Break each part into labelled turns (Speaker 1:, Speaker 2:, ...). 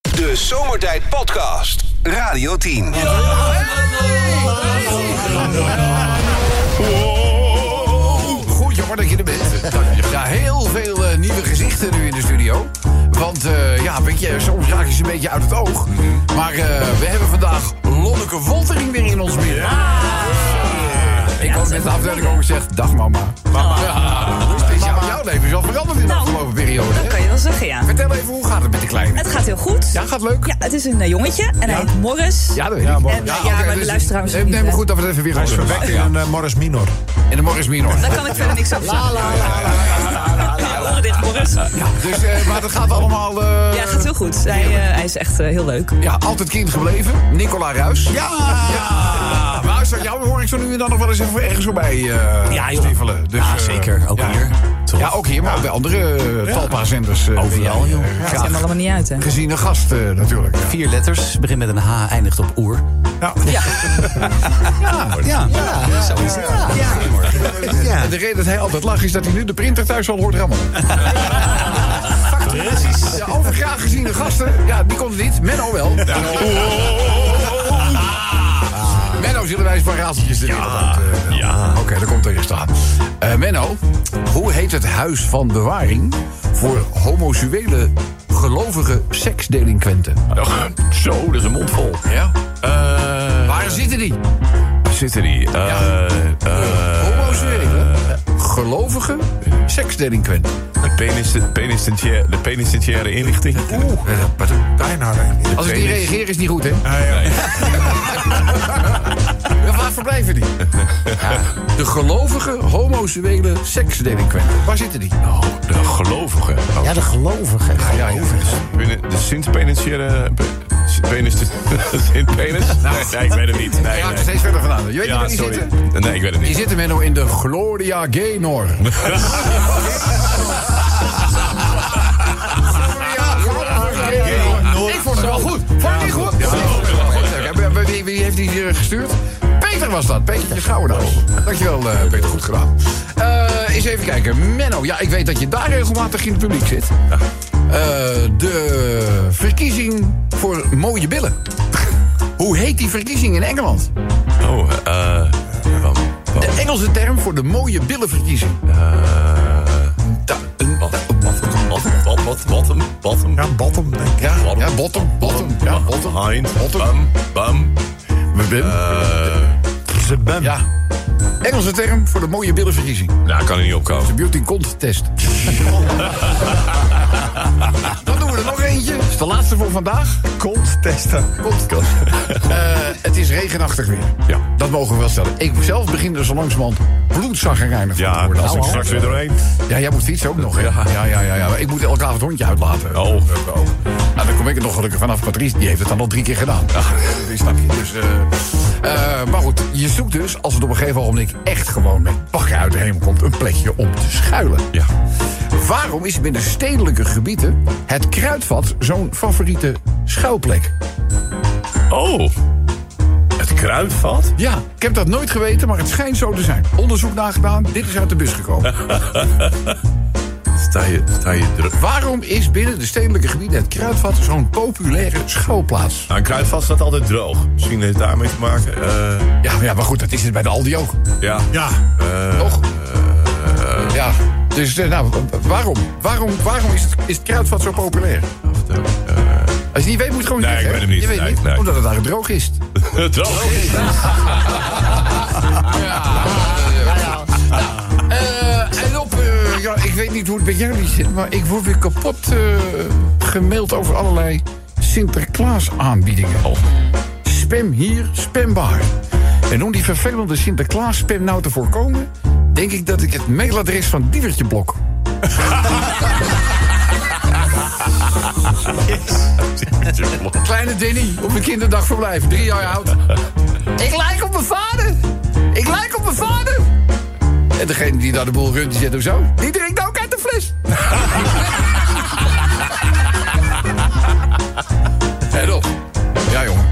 Speaker 1: De Zomertijd Podcast. Radio 10.
Speaker 2: Oh, Goed, jammer dat je er bent. Ja, heel veel eh, nieuwe gezichten nu in de studio. Want eh, ja, weet je, soms raak je ze een beetje uit het oog. Maar eh, we hebben vandaag Lonneke Woltering weer in ons midden. Ik had met de afdeling ook gezegd, dag mama. Mama. Speciaal jouw leven is wel veranderd in de
Speaker 3: Nou,
Speaker 2: afgelopen periode. hè?
Speaker 3: Dat kan je wel zeggen, ja.
Speaker 2: Vertel even, hoe gaat het met de kleine?
Speaker 3: Het gaat heel goed.
Speaker 2: Ja, gaat leuk?
Speaker 3: Ja, het is een eh, jongetje en hij heet Morris.
Speaker 2: Ja, dat weet ik. dus- Eh,
Speaker 3: En, eh, ja, maar de luisteraar misschien
Speaker 2: Neem
Speaker 3: niet,
Speaker 2: me
Speaker 3: hè?
Speaker 2: goed dat we het even weer
Speaker 4: Hij is
Speaker 2: horen.
Speaker 4: verwekt in
Speaker 2: Ja.
Speaker 4: een eh, Morris Minor.
Speaker 2: En de Morris Minor.
Speaker 3: Daar kan ik verder niks over zeggen. Horen dit, Morris? Ja,
Speaker 2: Dus, eh, maar het gaat allemaal... eh,
Speaker 3: het gaat heel goed. Hij, eh, hij is echt eh, heel leuk.
Speaker 2: Ja, altijd kind gebleven. Nicola Ruis. Ja!
Speaker 4: Ah.
Speaker 2: ja. Maar uit jou hoor ik zo nu en dan nog wel eens even ergens voorbij eh ja, stiefelen. Dus, eh,
Speaker 5: zeker. Ook
Speaker 2: ja.
Speaker 5: hier. Toch?
Speaker 2: Ja, ook hier, maar ook bij andere eh, Talpa-zenders. eh,
Speaker 5: Overal,
Speaker 2: ben jij, eh,
Speaker 5: joh.
Speaker 3: Het zijn
Speaker 2: Graag
Speaker 3: er allemaal niet uit, hè?
Speaker 2: gezien een gast eh, natuurlijk.
Speaker 5: Vier letters, begint met een H, eindigt op oer.
Speaker 2: Ja.
Speaker 5: Ja, ja, zo is het. Ja.
Speaker 2: En de reden dat hij altijd lacht is dat hij nu de printer thuis al hoort rammelen. Precies. Ja, over graag geziene gasten. Ja, die kon het niet. Menno wel. Ah. Menno zullen wij eens een paar raadseltjes erin. eh, Ja. ja. Oké, daar komt er je staan. Eh, Menno, hoe heet het huis van bewaring voor homoseksuele gelovige seksdelinquenten?
Speaker 6: Och, Zo, dat is een mond vol.
Speaker 2: Ja.
Speaker 6: Eh,
Speaker 2: Waar zitten die?
Speaker 6: waar zitten die? Eh, eh,
Speaker 2: Homoseksuele gelovige seksdelinquenten.
Speaker 6: de penis- de penitentiaire de penitentiaire inlichting.
Speaker 2: Oeh.
Speaker 4: Wat een bijnaam.
Speaker 2: Als ik niet Ah,
Speaker 6: Penis.
Speaker 2: reageer, is het niet goed, hè?
Speaker 6: Nee.
Speaker 2: Ja, Waar verblijven die? De gelovige homoseksuele seksdelinquenten. Waar zitten die?
Speaker 6: Oh, de gelovigen. Oh,
Speaker 5: de gelovige.
Speaker 2: ja, ja.
Speaker 6: binnen De Sint-penitentiaire... pe- Sint-penis... Sint-penis? Nee, nee, ik weet het niet.
Speaker 2: Je
Speaker 6: Nee,
Speaker 2: raakt er
Speaker 6: nee.
Speaker 2: steeds verder vandaan. Je weet niet
Speaker 6: Ja,
Speaker 2: waar die
Speaker 6: sorry.
Speaker 2: zitten.
Speaker 6: Nee, ik weet het
Speaker 2: Die
Speaker 6: niet.
Speaker 2: zitten, Menno, in de Gloria Gaynor. Gloria Gaynor. Ik vond ze wel goed. Vond je niet goed? Ja, maar Wie, wie heeft die hier gestuurd? Peter was dat. Peter Schouwenhoog. Dankjewel, eh Peter. Goed gedaan. Eh, eens even kijken. Menno, ja, ik weet dat je daar regelmatig in het publiek zit. Eh, de verkiezing voor mooie billen. Hoe heet die verkiezing in Engeland?
Speaker 6: Oh, eh... wat- wat-
Speaker 2: De Engelse term voor de mooie billenverkiezing. Da- een-
Speaker 6: Wat? Wat? Wat? Wat? Wat? Wat? Wat?
Speaker 4: Ja, bottom, denk ik.
Speaker 2: ja, ja, bottom, bottom, ja, bottom.
Speaker 6: Hind.
Speaker 2: Bottom.
Speaker 6: Bum. Bum.
Speaker 2: Bim.
Speaker 6: Eh,
Speaker 4: Ze bam.
Speaker 2: Ja. Engelse term voor de mooie billenverkiezing.
Speaker 6: nou, kan er niet opkomen.
Speaker 2: De beauty contest. Dan doen we er nog eentje. Het is de laatste voor vandaag.
Speaker 4: Kont testen.
Speaker 2: Podcast. Eh, het is regenachtig weer.
Speaker 6: Ja.
Speaker 2: Dat mogen we wel stellen. Ik zelf begin er zo langzamerhand bloedzaggerijnig van te
Speaker 6: Ja,
Speaker 2: worden.
Speaker 6: als ik
Speaker 2: Nou,
Speaker 6: straks weer doorheen.
Speaker 2: Ja, jij moet fietsen ook nog, hè? Ja,
Speaker 6: Ja.
Speaker 2: ja, ja. ja, Maar Ik moet elke avond hondje uitlaten.
Speaker 6: Oh.
Speaker 2: Nou, dan kom ik er nog gelukkig vanaf. Patrice, die heeft het dan al drie keer gedaan. Ja, die snap je. Dus, eh, eh, maar goed, je zoekt dus, als het op een gegeven moment echt gewoon met bakken uit de hemel komt, een plekje om te schuilen.
Speaker 6: Ja.
Speaker 2: Waarom is binnen stedelijke gebieden het kruidvat zo'n favoriete schuilplek?
Speaker 6: Oh. Het kruidvat?
Speaker 2: Ja, ik heb dat nooit geweten, maar het schijnt zo te zijn. Onderzoek nagedaan, dit is uit de bus gekomen.
Speaker 6: Sta je, sta je druk.
Speaker 2: Waarom is binnen de stedelijke gebieden het kruidvat zo'n populaire schuilplaats?
Speaker 6: Nou, een kruidvat staat altijd droog. Misschien heeft het daarmee te maken. Eh,
Speaker 2: Ja, maar ja, maar goed, dat is het bij de Aldi ook,
Speaker 6: ja.
Speaker 4: Ja.
Speaker 6: Eh,
Speaker 2: toch? ja, dus eh, nou, waarom? Waarom, waarom is, het, is het kruidvat zo populair?
Speaker 6: wacht even. Eh,
Speaker 2: Als je niet weet, moet je gewoon
Speaker 6: Nee,
Speaker 2: zeggen.
Speaker 6: ik weet hem niet.
Speaker 2: Je weet
Speaker 6: Nee,
Speaker 2: niet,
Speaker 6: nee.
Speaker 2: Omdat het daar droog is.
Speaker 6: droog is het.
Speaker 2: Eh, en op, eh, ja, ik weet niet hoe het bij jullie zit, maar ik word weer kapot eh, gemaild over allerlei Sinterklaas aanbiedingen. Spam hier, spam daar. En om die vervelende Sinterklaas spam nou te voorkomen, denk ik dat ik het mailadres van Diewertje blok. Kleine Denny op een kinderdagverblijf, drie jaar oud. Ik lijk op mijn vader! Ik lijk op mijn vader! En degene die daar de boel runt, die zit ook zo. Die drinkt ook uit de fles. en op. Ja, jongen.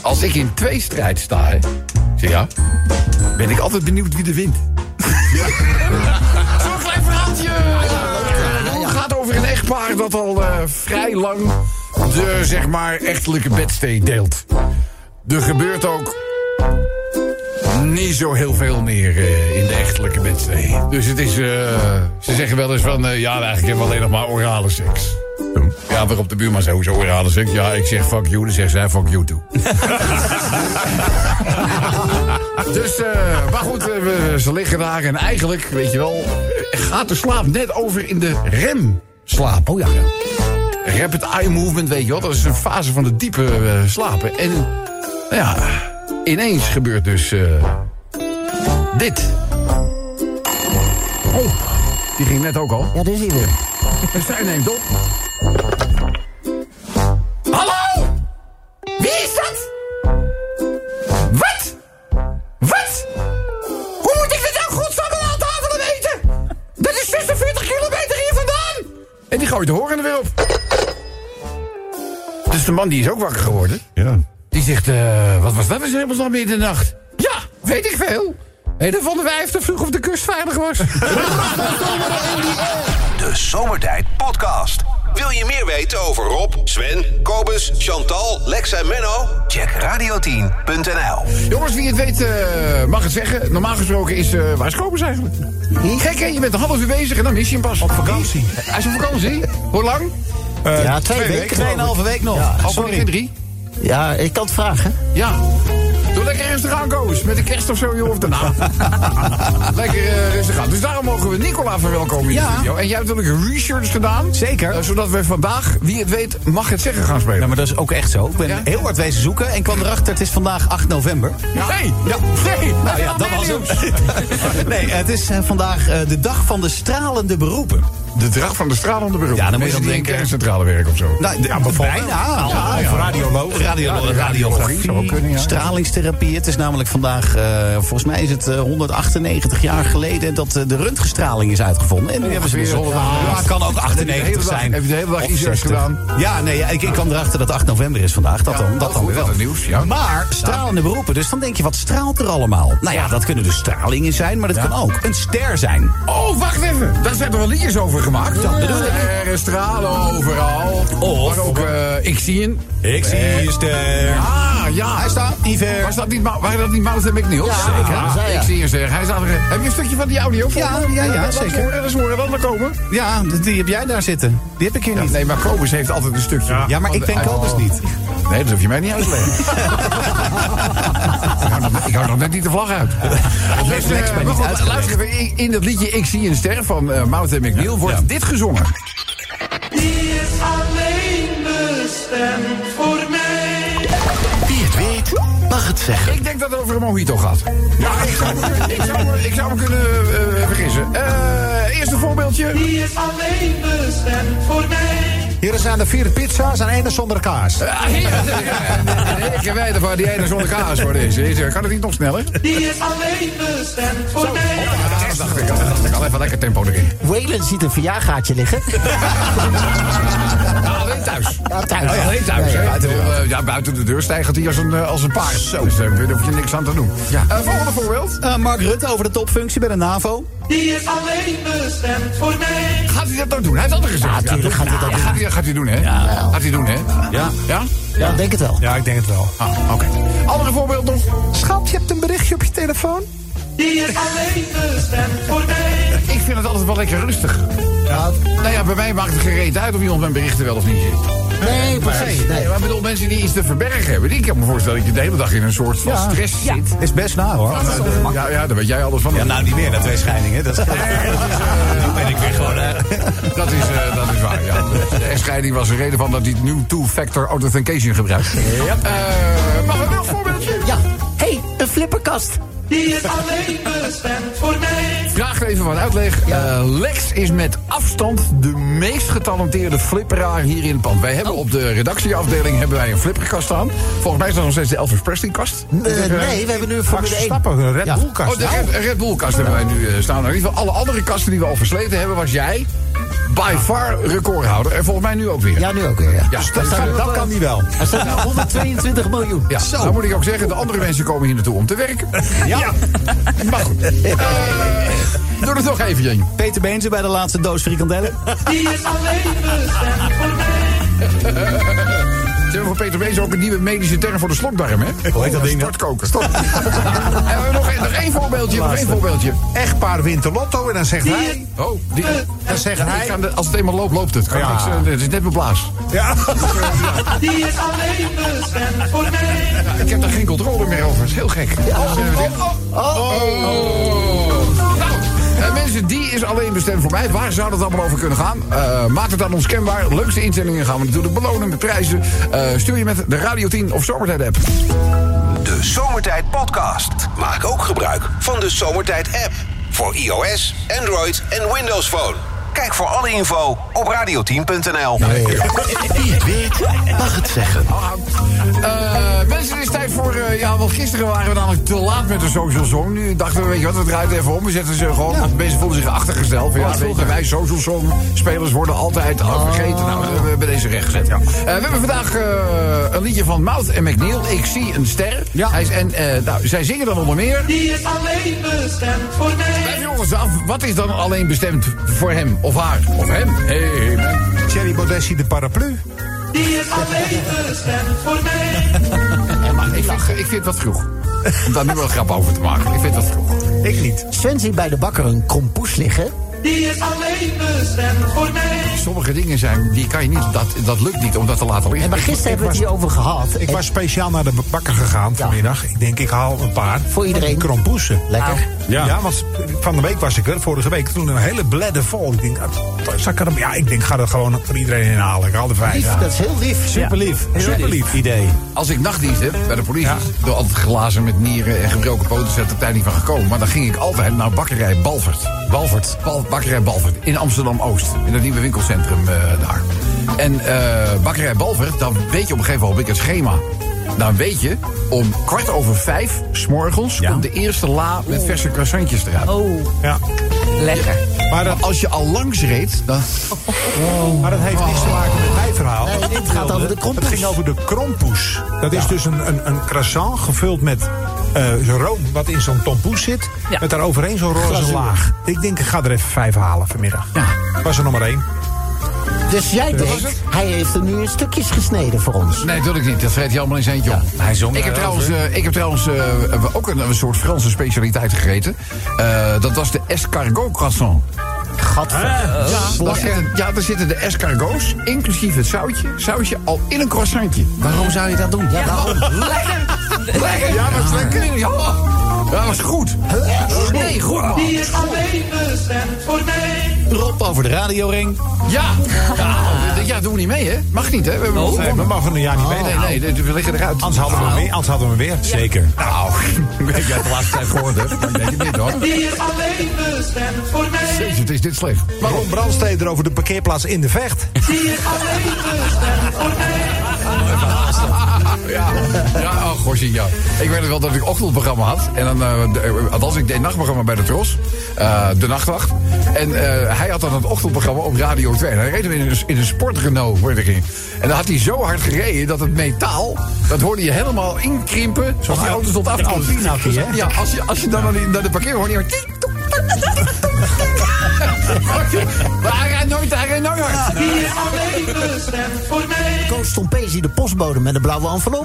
Speaker 2: Als ik in twee strijd sta, hè, zeg ja, ben ik altijd benieuwd wie er wint. Zo'n klein verhaaltje. Het gaat over een echtpaar dat al eh, vrij lang de zeg maar echtelijke bedstee deelt. Er gebeurt ook niet zo heel veel meer eh, in de echtelijke bedstee. Dus het is, eh, ze zeggen wel eens van, eh, ja eigenlijk hebben we alleen nog maar orale seks. Ja, waarop de buurman zei, hoezo orale seks? Ja, ik zeg fuck you, dan zegt zij fuck you too. Dus, eh, maar goed, eh, we- ze liggen daar en eigenlijk, weet je wel, eh, gaat de slaap net over in de remslaap. Oh ja. Rapid eye movement, weet je wel, dat is een fase van de diepe eh, slapen. En, nou ja, ineens gebeurt dus eh, dit. Oh, die ging net ook al.
Speaker 7: Ja, dit is hij weer.
Speaker 2: Dus zij neemt op. Hallo? Wie is dat? Wat? Wat? Hoe moet ik dit nou godsamme aan tafel weten? Dat is 46 kilometer hier vandaan! En die gooit de horen er weer op. Dus de man die is ook wakker geworden.
Speaker 6: Ja.
Speaker 2: Die zegt, eh, wat was dat in hemelsnaam midden in de nacht? Ja, weet ik veel. Hé, dan vonden wij even te vroeg of de kust veilig was.
Speaker 1: De Zomertijd Podcast. Wil je meer weten over Rob, Sven, Kobus, Chantal, Lex en Menno? Check radio10.nl.
Speaker 2: Jongens, wie het weet eh, mag het zeggen. Normaal gesproken is... eh waar is Kobus eigenlijk? Gek hè, je bent een half uur bezig en dan mis je hem pas. Op vakantie. Hij is op vakantie. Hoe lang?
Speaker 7: ja, twee, weken. geloof ik.
Speaker 5: Tweeënhalve week nog.
Speaker 2: Al
Speaker 5: Sorry.
Speaker 2: Ah, Sorry. drie?
Speaker 7: Ja, ik kan het vragen.
Speaker 2: Ja. Doe lekker rustig aan, Kobus. Met de kerst of zo, joh, of daarna. lekker eh, rustig aan. Dus daarom mogen we Nicola verwelkomen in de
Speaker 5: Ja.
Speaker 2: studio. En jij hebt natuurlijk research gedaan.
Speaker 5: Zeker.
Speaker 2: Eh, zodat we vandaag, wie het weet, mag het zeggen gaan spelen.
Speaker 5: Nou, maar dat is ook echt zo. Ik ben
Speaker 2: Ja?
Speaker 5: heel hard wezen zoeken en kwam erachter, het is vandaag 8 november.
Speaker 2: Nee, ja, nee.
Speaker 5: Nou ja, dat was het. Nee, het is eh, vandaag eh, de dag van de stralende beroepen.
Speaker 2: De dracht van de stralende beroep.
Speaker 5: Ja, dan moet je
Speaker 2: Mensen
Speaker 5: dan
Speaker 2: die in
Speaker 5: denken-
Speaker 2: kerncentrale werken of zo.
Speaker 5: Nou, ja, bijvoorbeeld. Bijna. Ja,
Speaker 2: ja.
Speaker 5: Of radioloog. Radiolo- radiologie.
Speaker 2: zou ook kunnen, ja.
Speaker 5: Stralingstherapie. Het is namelijk vandaag, eh, volgens mij is het eh, 198 jaar geleden... dat eh, de röntgenstraling is uitgevonden. En nu hebben ze dus...
Speaker 2: Ongeveer
Speaker 5: Ja,
Speaker 2: 198.
Speaker 5: kan ook
Speaker 2: Heb je de
Speaker 5: 98
Speaker 2: hele dag-
Speaker 5: zijn.
Speaker 2: heb je de hele dag
Speaker 5: Of
Speaker 2: iets ergs
Speaker 5: 60.
Speaker 2: gedaan?
Speaker 5: Ja, nee, ja, ik, ik kwam erachter dat 8 november is vandaag. Dat
Speaker 2: Ja,
Speaker 5: dan, dat
Speaker 2: oh,
Speaker 5: dan
Speaker 2: goed,
Speaker 5: wel.
Speaker 2: wat een nieuws, ja.
Speaker 5: Maar stralende beroepen. Dus dan denk je, wat straalt er allemaal? Nou ja, dat kunnen dus stralingen zijn, maar dat kan ook een ster zijn.
Speaker 2: Oh, wacht even. Daar zijn er wel liedjes over gemaakt.
Speaker 5: Dat bedoel ik.
Speaker 2: Er is stralen overal.
Speaker 5: Of-
Speaker 2: Maar ook, eh, ik zie een...
Speaker 5: Ik zie een ster.
Speaker 2: Ah, ja.
Speaker 5: Eh. Hij staat niet ver.
Speaker 2: Was dat niet, Ma- waren dat niet Mountain McNeil? Ja,
Speaker 5: zeker.
Speaker 2: Ah,
Speaker 7: Dat zei
Speaker 2: ik
Speaker 7: hij.
Speaker 2: zie een zeg. Hij staat er. Heb je een stukje van die audio voor
Speaker 5: Ja,
Speaker 2: me?
Speaker 5: ja, ja,
Speaker 2: Laat
Speaker 5: zeker.
Speaker 2: eens horen, Dat is horen, dan maar komen.
Speaker 5: Ja, die heb jij daar zitten. Die heb ik hier niet.
Speaker 2: Nee, maar Kobus heeft altijd een stukje.
Speaker 5: Ja, maar ik ben Kobus niet.
Speaker 2: Nee, dat hoef je mij niet uit te leggen. Ik hou nog- ik hou nog net niet de vlag uit. Dus,
Speaker 5: Lex
Speaker 2: eh,
Speaker 5: mij niet
Speaker 2: maar goed,
Speaker 5: uitgelegd.
Speaker 2: luister even, in- in dat liedje Ik zie een ster van eh Mountain McNeil wordt dit gezongen.
Speaker 8: Die is alleen bestemd voor mij.
Speaker 9: Wie het weet, mag het zeggen.
Speaker 2: Ik denk dat het over een mojito gaat. Ja, ik zou me, ik zou me, ik zou me kunnen eh, vergissen. Eh, eerste voorbeeldje.
Speaker 8: Die is alleen bestemd voor mij.
Speaker 5: Hier zijn de vier pizza's en één zonder kaas.
Speaker 2: Ah, hier. Ik heb wijden van die ene zonder kaas voor deze. Deze, Kan het niet nog sneller?
Speaker 8: Die is alleen bestemd voor mij.
Speaker 2: Ja, dat dacht ik al. Dat dacht ik al. Even lekker tempo erin.
Speaker 7: Waylon ziet een verjaargaatje liggen.
Speaker 2: Nou, alleen thuis.
Speaker 7: Ja, thuis.
Speaker 2: Oh ja, alleen thuis. hè? Ik bedoel, eh, ja, buiten de deur stijgt hij als een, eh, als een paard. Zo. Dus daar hoef je niks aan te doen. Eh, volgende voorbeeld.
Speaker 5: Mark Rutte over de topfunctie bij de NAVO.
Speaker 8: Die is alleen bestemd voor mij.
Speaker 2: Eh, Gaat hij dat ook doen? Hij heeft dat al gezegd. Ja,
Speaker 7: tuurlijk gaat hij dat
Speaker 2: ja,
Speaker 7: doen.
Speaker 2: Gaat hij, gaat hij doen, hè? Gaat hij doen, hè? Ja. Ja?
Speaker 7: Ja, ik denk het wel.
Speaker 4: Ja, ik denk het wel.
Speaker 2: Ah, oké. Andere voorbeeld nog.
Speaker 5: Schat, je hebt een berichtje op je telefoon?
Speaker 8: Die is alleen bestemd voor mij.
Speaker 2: Ik vind het altijd wel lekker rustig. Ja. Nou ja, bij mij maakt het gereed uit of iemand mijn berichten wel of niet ziet.
Speaker 7: Nee, precies.
Speaker 2: Nee,
Speaker 7: Nee.
Speaker 2: maar ik bedoel, mensen die iets te verbergen hebben... die kan me voorstellen dat je de hele dag in een soort van stress zit.
Speaker 5: Is best na hoor.
Speaker 2: Eh, Ja, ja, daar weet jij alles van.
Speaker 5: Ja, nou niet meer na twee scheidingen. Dat is, Dan ben ik weer gewoon. eh,
Speaker 2: Dat is, eh, dat is waar, ja. De echtscheiding was de reden van dat hij het new two-factor authentication gebruikt. Ja. mag ik nog een voorbeeldje?
Speaker 7: Ja. hey, een flipperkast.
Speaker 8: Die is alleen bestemd voor mij.
Speaker 2: Vraag er even wat uitleg. Eh, Lex is met afstand de meest getalenteerde flipperaar hier in het pand. Wij hebben op de redactieafdeling hebben wij een flipperkast staan. Volgens mij is dat nog steeds de Elvis Presley kast.
Speaker 7: Eh, nee, we hebben nu een Formule 1.
Speaker 4: Stappen, een Red
Speaker 7: Ja.
Speaker 4: Bull kast.
Speaker 2: Oh, de Red, Red Bull kast hebben wij nu eh, staan. Nou, In ieder geval alle andere kasten die we al versleten hebben was jij by far recordhouder. En volgens mij nu ook weer.
Speaker 7: Ja, nu ook weer. Ja.
Speaker 2: Ja, dus dat-
Speaker 5: dat kan niet wel.
Speaker 7: Er staat nou 122 miljoen.
Speaker 2: Ja,
Speaker 5: Zo.
Speaker 2: nou moet ik ook zeggen, de andere mensen komen hier naartoe om te werken.
Speaker 5: Ja.
Speaker 2: Maar goed. Eh, doe het nog even, Jen.
Speaker 5: Peter Beense bij de laatste doos frikandellen.
Speaker 8: Die is alleen bestemd voor mij.
Speaker 2: Ze hebben voor Peter Wees ook een nieuwe medische term voor de slokdarm, hè?
Speaker 4: Hoe heet dat ding nou?
Speaker 2: Stortkoker. Stort. en nog, nog één voorbeeldje, nog één voorbeeldje.
Speaker 4: Echtpaar wint de lotto en dan zegt hij...
Speaker 2: Oh, die,
Speaker 4: Dan zegt
Speaker 2: Ik
Speaker 4: hij...
Speaker 2: kan de- als het eenmaal loopt, loopt het. Kan
Speaker 4: Ja.
Speaker 2: niks, eh, het is net mijn blaas.
Speaker 4: Ja.
Speaker 8: Die is alleen bestemd voor mij.
Speaker 2: Ik heb daar geen controle meer over. Dat is heel gek. Dus, eh, dit- Oh. Nou, eh, Mensen, die is alleen bestemd voor mij. Waar zou dat allemaal over kunnen gaan? Eh, maak het aan ons kenbaar. Leukste inzendingen gaan we natuurlijk belonen met prijzen. Eh, stuur je met de Radio 10 of Zomertijd app.
Speaker 1: De Zomertijd Podcast. Maak ook gebruik van de Zomertijd app. Voor iOS, Android en Windows Phone. Kijk voor alle info op radio10.nl.
Speaker 9: Wie het weet, mag het zeggen.
Speaker 2: Eh, mensen, het is tijd voor... eh, ja, want gisteren waren we namelijk te laat met de Social Song. Nu dachten we, weet je wat, we draaien het even om. We zetten ze gewoon... want Mensen voelden zich achtergesteld. Van, ja, weet je, wij Social Song spelers worden altijd eh, vergeten. Nou, we hebben deze recht gezet. Eh, we hebben vandaag eh, een liedje van Mouth en McNeil. Ik zie een ster. Hij is, en eh, nou, zij zingen dan onder meer...
Speaker 8: Die is alleen bestemd voor
Speaker 2: Blijf
Speaker 8: mij.
Speaker 2: jongens af, wat is dan alleen bestemd voor hem of haar? Of hem? Hey, man.
Speaker 4: Thierry Bodessi de paraplu.
Speaker 8: Die is alleen bestemd voor mij.
Speaker 2: Maar ik vind, ik vind dat vroeg. Om daar nu wel een grap over te maken. Ik vind dat vroeg.
Speaker 4: Ik niet.
Speaker 7: Sven ziet bij de bakker een kompoes liggen.
Speaker 8: Die is alleen bestemd voor mij.
Speaker 2: Sommige dingen zijn, die kan je niet, dat, dat lukt niet om dat te laten
Speaker 7: En
Speaker 2: liggen.
Speaker 7: maar gisteren hebben we het hierover gehad.
Speaker 4: Ik
Speaker 7: En
Speaker 4: was speciaal naar de bakker gegaan vanmiddag. Ik denk, ik haal een paar.
Speaker 7: Voor iedereen.
Speaker 4: Krompoesen. Nou,
Speaker 7: Lekker.
Speaker 4: Ja. ja, want van de week was ik er, vorige week, toen een hele bledde vol. Ik denk, ah, zak er, ja, ik denk, ga dat gewoon voor iedereen inhalen. Ik haal er vijf.
Speaker 7: lief,
Speaker 4: ja.
Speaker 7: dat is heel lief.
Speaker 4: Super lief. Super lief.
Speaker 5: Idee.
Speaker 2: Als ik nachtdienst heb bij de politie, door altijd glazen met nieren en gebroken poten, is dat op tijd niet van gekomen. Maar dan ging ik altijd naar bakkerij Balvert. Balvert. Bal, bakkerij Balvert. In Amsterdam-Oost. In het nieuwe winkelcentrum eh, daar. En eh, bakkerij Balvert, dan weet je op een gegeven moment heb ik het schema. Dan weet je, om kwart over vijf, s'morgens, komt de eerste la met verse croissantjes eruit.
Speaker 7: Oh,
Speaker 4: Ja.
Speaker 7: lekker.
Speaker 4: Maar, dat,
Speaker 2: Als je al langs reed, dan...
Speaker 4: maar dat heeft niks te maken met mijn verhaal.
Speaker 7: Nee, dit gaat over de krompoes.
Speaker 4: Het ging over de krompoes. Dat is dus een, een, een croissant gevuld met eh, zo'n room wat in zo'n tompoes zit.
Speaker 3: Ja.
Speaker 4: Met daaroverheen zo'n roze laag. Ik denk, ik ga er even vijf halen vanmiddag. Was er nog maar één.
Speaker 7: Dus jij denkt, hij heeft er nu in stukjes gesneden voor ons.
Speaker 2: Nee, natuurlijk niet. Dat vreet hij allemaal in zijn eentje op.
Speaker 5: Hij zong
Speaker 2: Ik heb
Speaker 5: daarover.
Speaker 2: trouwens, eh, ik heb trouwens eh, eh, ook een, een soort Franse specialiteit gegeten. Eh, dat was de escargot croissant.
Speaker 7: Gadver.
Speaker 2: Daar zitten, ja, daar zitten de escargots, inclusief het zoutje, sausje, al in een croissantje.
Speaker 5: Waarom zou je dat doen?
Speaker 7: Ja, daarom.
Speaker 2: Lekker! Ja, was lekker. Ja, dat was goed. Nee, goed man.
Speaker 8: Die is alleen bestemd voor mij.
Speaker 5: Rob over de radioring.
Speaker 2: Ja. Ja, d- ja, doen we niet mee, hè? Mag niet, hè? We hebben
Speaker 4: Nee, we mogen er een jaar niet mee.
Speaker 2: Nee, nee, nee, we liggen eruit.
Speaker 4: Anders hadden we hem weer. Anders hadden we hem weer. Zeker.
Speaker 2: Nou, Oh. ik weet dat de laatste tijd gehoord, hè? Maar ik denk het niet, hoor.
Speaker 8: Die is alleen bestemd voor mij.
Speaker 2: Jezus, het is dit slecht.
Speaker 4: Waarom brandstede er over de parkeerplaats in de vecht?
Speaker 8: Die is alleen bestemd voor mij.
Speaker 2: Ja, ja oh goshie, ja. Ik weet nog wel dat ik ochtendprogramma had. En dan, eh, de- eh, althans, ik deed nachtprogramma bij de Tros. eh, de Nachtwacht. En eh, hij had dan het ochtendprogramma op Radio 2. En hij reed hem in een, in een sportrenault, hoorde ik in. En dan had hij zo hard gereden dat het metaal... dat hoorde je helemaal inkrimpen als die auto stond af te komen.
Speaker 4: alpinakkie, hè?
Speaker 2: Ja, als je, als je dan naar, die- naar de parkeer hoorde je... maar tiek, toek, toek, toek, toek. Maar hij rijdt nooit, hij rijdt nooit hard.
Speaker 8: Die is alleen bestemd voor mij.
Speaker 7: Koos Tompezi, de postbode met een blauwe envelop.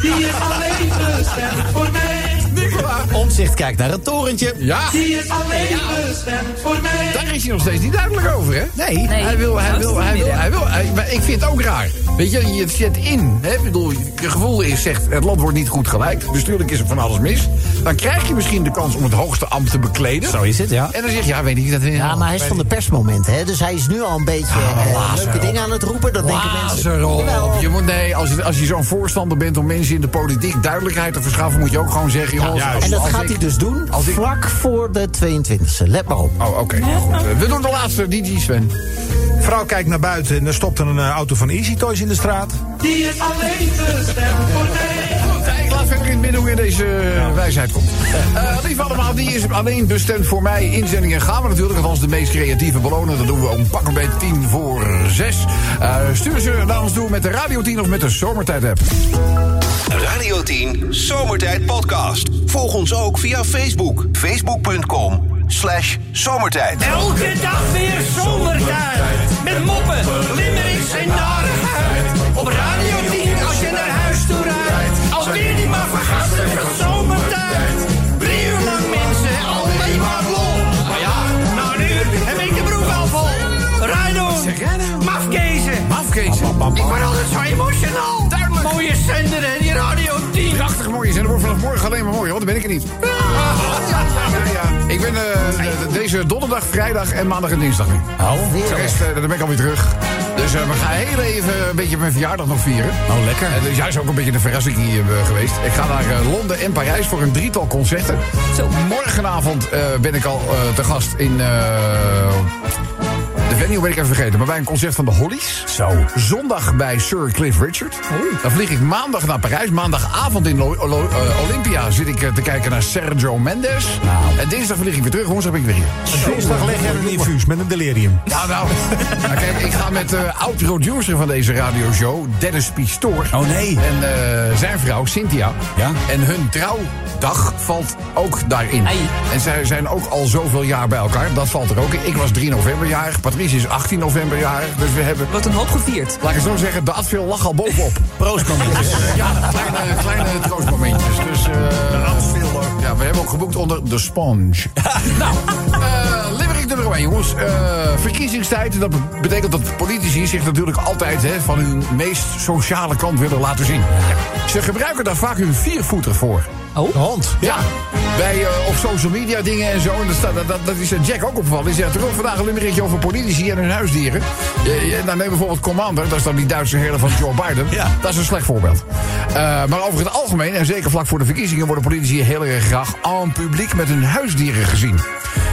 Speaker 8: Die is alleen bestemd voor mij.
Speaker 2: Nicola.
Speaker 5: Omzicht kijkt naar het torentje.
Speaker 2: Ja.
Speaker 8: Die is alleen bestemd voor mij.
Speaker 2: Daar is hij nog steeds niet duidelijk over, hè?
Speaker 5: Nee.
Speaker 2: Hij wil, hij wil, hij wil, hij wil. hij- maar ik vind het ook raar. Weet je, je zet in. Hè? Ik bedoel, je gevoel is, zegt, het land wordt niet goed gelijk. Bestuurlijk is er van alles mis. Dan krijg je misschien de kans om het hoogste ambt te bekleden.
Speaker 5: Zo is het, ja.
Speaker 2: En dan zeg je, ja, weet ik niet dat...
Speaker 7: Ja, maar hij is van de persmoment, hè? Dus hij is nu al een beetje eh, leuke dingen aan het roepen. Dat denken mensen. Jawel.
Speaker 2: Lazarop. Ah, Je moet, nee, als, je- als je zo'n voorstander bent om mensen in de politiek duidelijkheid te verschaffen... moet je ook gewoon zeggen, joh, als-
Speaker 7: En dat
Speaker 2: als
Speaker 7: gaat
Speaker 2: ik-
Speaker 7: hij dus doen
Speaker 2: als ik-
Speaker 7: vlak voor de 22e. Let maar op.
Speaker 2: Oh, oké. goed. Eh, We doen de laatste, die, die Sven.
Speaker 4: Vrouw kijkt naar buiten en er stopt een eh, auto van Easy Toys in de straat.
Speaker 8: Die is alleen bestemd voor mij.
Speaker 2: Ja, Ik laat verder in het midden hoe in deze eh, wijsheid komt. Eh lief allemaal, die is alleen bestemd voor mij. Inzendingen gaan we natuurlijk, althans de meest creatieve belonen. Dat doen we om pak een beetje tien voor zes. Eh, stuur ze naar ons toe met de Radio 10 of met de Zomertijd-app.
Speaker 1: Radio 10 Zomertijd Podcast. Volg ons ook via Facebook. Facebook.com slash zomertijd.
Speaker 8: Elke dag weer zomertijd. Met moppen, limmerings en narigheid. Op Radio 10 als je naar huis toe rijdt. Alweer die maar vergasten van zomertijd. Drie uur lang mensen, alleen maar lol. Maar ja, na een uur heb ik de broek al vol. Rijdoen, mafkezen.
Speaker 2: Afkezen.
Speaker 8: Ik word altijd zo emotional. Mooie zender en die Radio 10.
Speaker 2: Prachtig mooi. En er wordt vanaf morgen alleen maar mooi, want dan ben ik er niet. Ja, ja, ja. Ik ben eh, de- de- deze donderdag, vrijdag en maandag en dinsdag nu.
Speaker 5: Oh,
Speaker 2: De rest, eh, dan ben ik alweer terug. Dus eh, we gaan heel even een beetje mijn verjaardag nog vieren.
Speaker 5: nou lekker.
Speaker 2: Eh, dus jij is ook een beetje de verrassing hier eh, geweest. Ik ga naar eh, Londen en Parijs voor een drietal concerten. Morgenavond eh, ben ik al eh, te gast in... eh, de venue ben ik even vergeten, maar bij een concert van de Hollies.
Speaker 4: Zo.
Speaker 2: Zondag bij Sir Cliff Richard. Dan vlieg ik maandag naar Parijs. Maandagavond in Lo- Lo- eh, Olympia zit ik eh, te kijken naar Sergio Mendes.
Speaker 5: Nou.
Speaker 2: En dinsdag vlig ik weer terug. Woensdag ben ik weer hier.
Speaker 4: Dinsdag leg jij een infuus met een delirium.
Speaker 2: Ja, nou. nou, kijk, ik ga met de oud-producer van deze radioshow, Dennis Pistoor.
Speaker 5: Oh, nee.
Speaker 2: En eh, zijn vrouw, Cynthia.
Speaker 5: Ja.
Speaker 2: En hun trouwdag valt ook daarin.
Speaker 3: Ei.
Speaker 2: En zij zijn ook al zoveel jaar bij elkaar. Dat valt er ook in. Ik was 3 november jarig. Patrice is 18 november jarig. Dus we hebben,
Speaker 3: Wat een hoop gevierd.
Speaker 2: laat ik het zo zeggen, de Advil lag al bovenop.
Speaker 5: Proostmomentjes.
Speaker 2: ja, kleine, kleine troostmomentjes. Dus, eh, ja, we hebben ook geboekt onder de sponge. Eh, Limerick nummer 1, jongens. Eh, verkiezingstijd, dat be- betekent dat politici zich natuurlijk altijd hè, van hun meest sociale kant willen laten zien. Ze gebruiken daar vaak hun viervoeter voor.
Speaker 3: Oh.
Speaker 4: De hond.
Speaker 2: Ja, bij, eh, op social media dingen en zo. En dat, staat- dat, dat, dat is eh, Jack ook opgevallen. Die zegt, er komt vandaag een limmerikje over politici en hun huisdieren. Eh, eh, nou, neem bijvoorbeeld Commander. Dat is dan die Duitse herder van Joe Biden.
Speaker 5: Ja.
Speaker 2: Dat is een slecht voorbeeld. Eh, maar over het algemeen, en zeker vlak voor de verkiezingen... worden politici heel erg graag en publiek met hun huisdieren gezien.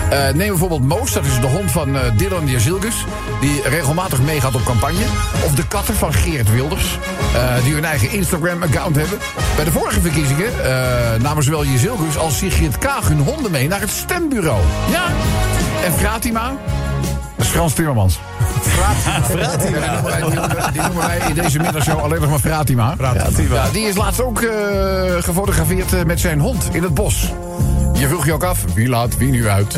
Speaker 2: Eh, neem bijvoorbeeld Moos, dat is de hond van eh, Dylan Jezilgus... die regelmatig meegaat op campagne. Of de katten van Geert Wilders, eh, die hun eigen Instagram-account hebben. Bij de vorige verkiezingen eh, namen zowel Jezilgus als Sigrid Kaag hun honden mee naar het stembureau. Ja, en Fratima... Dat is Frans Timmermans. Fratima. Die noemen wij- die noemen wij in deze middagshow alleen nog maar Fratima. Ja, die is laatst ook eh, gefotografeerd eh, met zijn hond in het bos. Je vroeg je ook af, wie laat wie nu uit?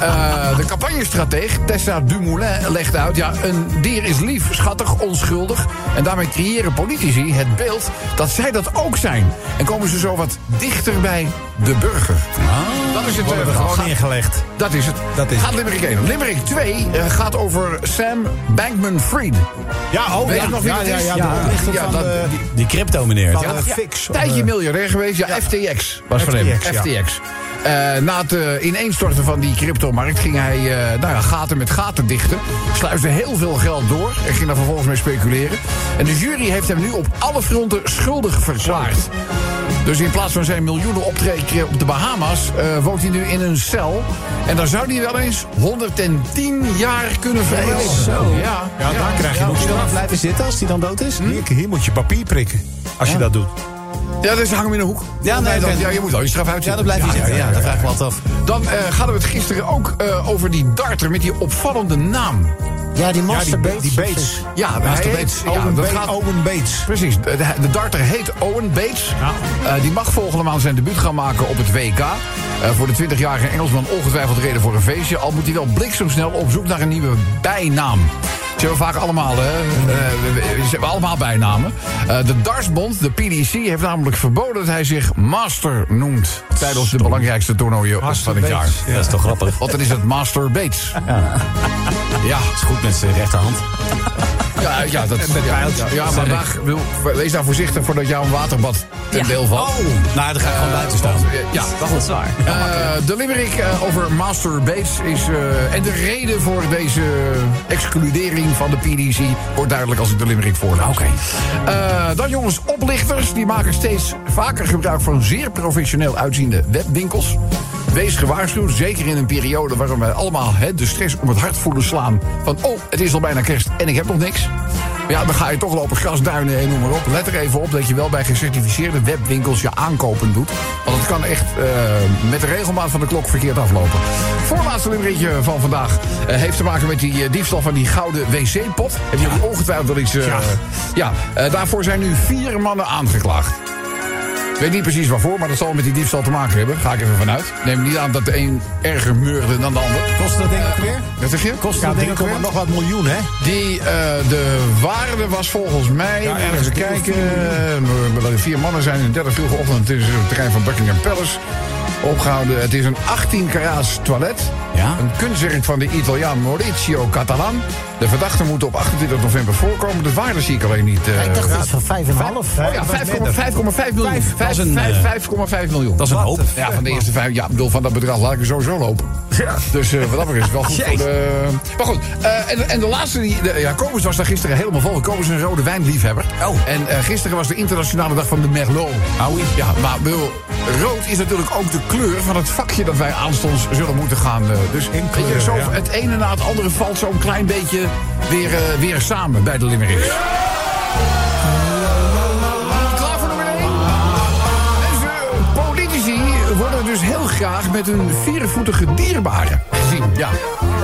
Speaker 2: Eh, de campagnestratege Tessa Dumoulin legt uit... ja, een dier is lief, schattig, onschuldig... en daarmee creëren politici het beeld dat zij dat ook zijn. En komen ze zo wat dichter bij de burger. dat is het eh,
Speaker 4: Gewoon
Speaker 2: gaat-
Speaker 4: neergelegd.
Speaker 2: dat is het.
Speaker 4: Dat is
Speaker 2: gaat
Speaker 4: het.
Speaker 2: Limerick 1. Limerick 2 eh, gaat over Sam Bankman-Fried.
Speaker 4: Ja, oh,
Speaker 2: Weet
Speaker 4: ja.
Speaker 2: je nog wie
Speaker 4: ja,
Speaker 2: dat
Speaker 4: ja,
Speaker 2: is?
Speaker 4: ja,
Speaker 2: Ja,
Speaker 4: de oprichter
Speaker 2: ja,
Speaker 4: van
Speaker 2: dat-
Speaker 4: de-
Speaker 2: die-
Speaker 5: Die crypto meneer.
Speaker 4: van
Speaker 5: Ja.
Speaker 4: de fix.
Speaker 2: Een tijdje miljardair geweest. Ja, FTX was van hem.
Speaker 4: FTX, ja.
Speaker 2: FTX. Eh, na het eh, ineenstorten van die cryptomarkt ging hij eh, nou ja, gaten met gaten dichten. Sluisde heel veel geld door en ging daar vervolgens mee speculeren. En de jury heeft hem nu op alle fronten schuldig verklaard. Dus in plaats van zijn miljoenen optreden op de Bahama's... eh, woont hij nu in een cel. En daar zou hij wel eens 110 jaar kunnen verleven. Ja,
Speaker 4: Ja, daar krijg je nog
Speaker 5: Moet je dan
Speaker 4: straf.
Speaker 5: af blijven zitten als die dan dood is?
Speaker 4: Hier, hier moet je papier prikken. Als je dat doet.
Speaker 2: Ja, dus hang hem in een hoek.
Speaker 5: Ja, nee,
Speaker 2: dan,
Speaker 5: dat-
Speaker 2: ja je moet al je straf
Speaker 5: Ja,
Speaker 2: uitzitten.
Speaker 5: dat blijft hij zitten. Ja, dat vraag ik me altijd af.
Speaker 2: Dan eh, hadden we het gisteren ook eh, over die darter met die opvallende naam.
Speaker 7: Ja, die
Speaker 4: Ja, die,
Speaker 7: masterbeet.
Speaker 4: Be- die Bates.
Speaker 2: Ja,
Speaker 4: Naast de
Speaker 2: hij
Speaker 4: Bates.
Speaker 2: heet- ja,
Speaker 4: Owen,
Speaker 2: dat
Speaker 4: Ba-
Speaker 2: gaat-
Speaker 4: Owen Bates.
Speaker 2: Precies, de, de- de darter heet Owen Bates. Eh, die mag volgende maand zijn debuut gaan maken op het WK. Eh, voor de 20-jarige Engelsman ongetwijfeld reden voor een feestje. Al moet hij wel bliksemsnel op zoek naar een nieuwe bijnaam. Ze hebben vaak allemaal, hè, eh, ze hebben allemaal bijnamen. Eh, de dartsbond, de PDC, heeft namelijk verboden dat hij zich Master noemt. Tijdens de belangrijkste toernooien van het jaar.
Speaker 4: Ja.
Speaker 5: Dat is toch grappig.
Speaker 2: Want dan is het Master Bates. Ja,
Speaker 5: Dat is goed met zijn rechterhand.
Speaker 2: ja, ja, dat ja,
Speaker 4: pijltjes.
Speaker 2: ja, maar daar, wil, wees daar voorzichtig voordat jou een waterbad ten deel valt.
Speaker 5: Nou, dan ga ik gewoon buiten staan.
Speaker 2: Eh, Ja,
Speaker 3: Dat is waar.
Speaker 2: Eh, de limerick eh, over Master Bates is... eh, en de reden voor deze excludering van de PDC... wordt duidelijk als ik de limerick voorlees. Oké. dan jongens, oplichters. Die maken steeds vaker gebruik van zeer professioneel uitziende webwinkels. Wees gewaarschuwd, zeker in een periode waarin wij allemaal hè, de stress om het hart voelen slaan. Van, oh, het is al bijna kerst en ik heb nog niks. Ja, dan ga je toch lopen grasduinen en noem maar op. Let er even op dat je wel bij gecertificeerde webwinkels je aankopen doet. Want het kan echt eh, met de regelmaat van de klok verkeerd aflopen. Voorlaatste nummertje van vandaag eh, heeft te maken met die eh, diefstal van die gouden wc-pot. Heb je ongetwijfeld wel iets... eh, ja, eh, daarvoor zijn nu vier mannen aangeklaagd. weet niet precies waarvoor, maar dat zal met die diefstal te maken hebben. Ga ik even vanuit. Neem niet aan dat de een erger meurde dan de ander.
Speaker 4: Kost dat ding ook weer?
Speaker 2: Wat zeg je?
Speaker 4: Kost dat ding ook nog wat miljoen, hè?
Speaker 2: Die, eh, de waarde was volgens mij,
Speaker 4: Ja,
Speaker 2: ergens even
Speaker 4: ergens
Speaker 2: kijken, eh, dat er vier mannen zijn in 30 uur ochtend in het terrein van Buckingham Palace opgehouden. Het is een 18 karaats toilet.
Speaker 5: Ja.
Speaker 2: Een kunstwerk van de Italiaan Maurizio Catalan. De verdachte moet op 28 november voorkomen. De waarde zie ik alleen niet. eh,
Speaker 7: Ik dacht iets van vijf en een half.
Speaker 2: Oh ja, 5,5 miljoen.
Speaker 5: Vijf, dat is een,
Speaker 2: Vijf-
Speaker 5: eh,
Speaker 2: vijf- 5,5 miljoen.
Speaker 5: Dat is een hoop.
Speaker 2: Ja, van de eerste vijf. Ja, ik bedoel, van dat bedrag laat ik er sowieso lopen. Dus eh, wat dat betreft is het wel goed voor de... Maar goed, eh, en, en de laatste... Die, de, ja, Kobus was daar gisteren helemaal vol. Kobus is een rode wijnliefhebber.
Speaker 5: Oh.
Speaker 2: En eh, gisteren was de internationale dag van de Merlot.
Speaker 5: Howie.
Speaker 2: Ja, maar ik bedoel, rood is natuurlijk ook de kleur van het vakje dat wij aanstonds zullen moeten gaan. eh, dus weet je,
Speaker 4: kleur,
Speaker 2: zo,
Speaker 4: ja.
Speaker 2: het ene na het andere valt zo'n klein beetje weer, eh, weer samen bij de Limericks. Klaar voor nummer één? Mensen, Politici worden dus heel graag met hun viervoetige dierbaren gezien. Ja.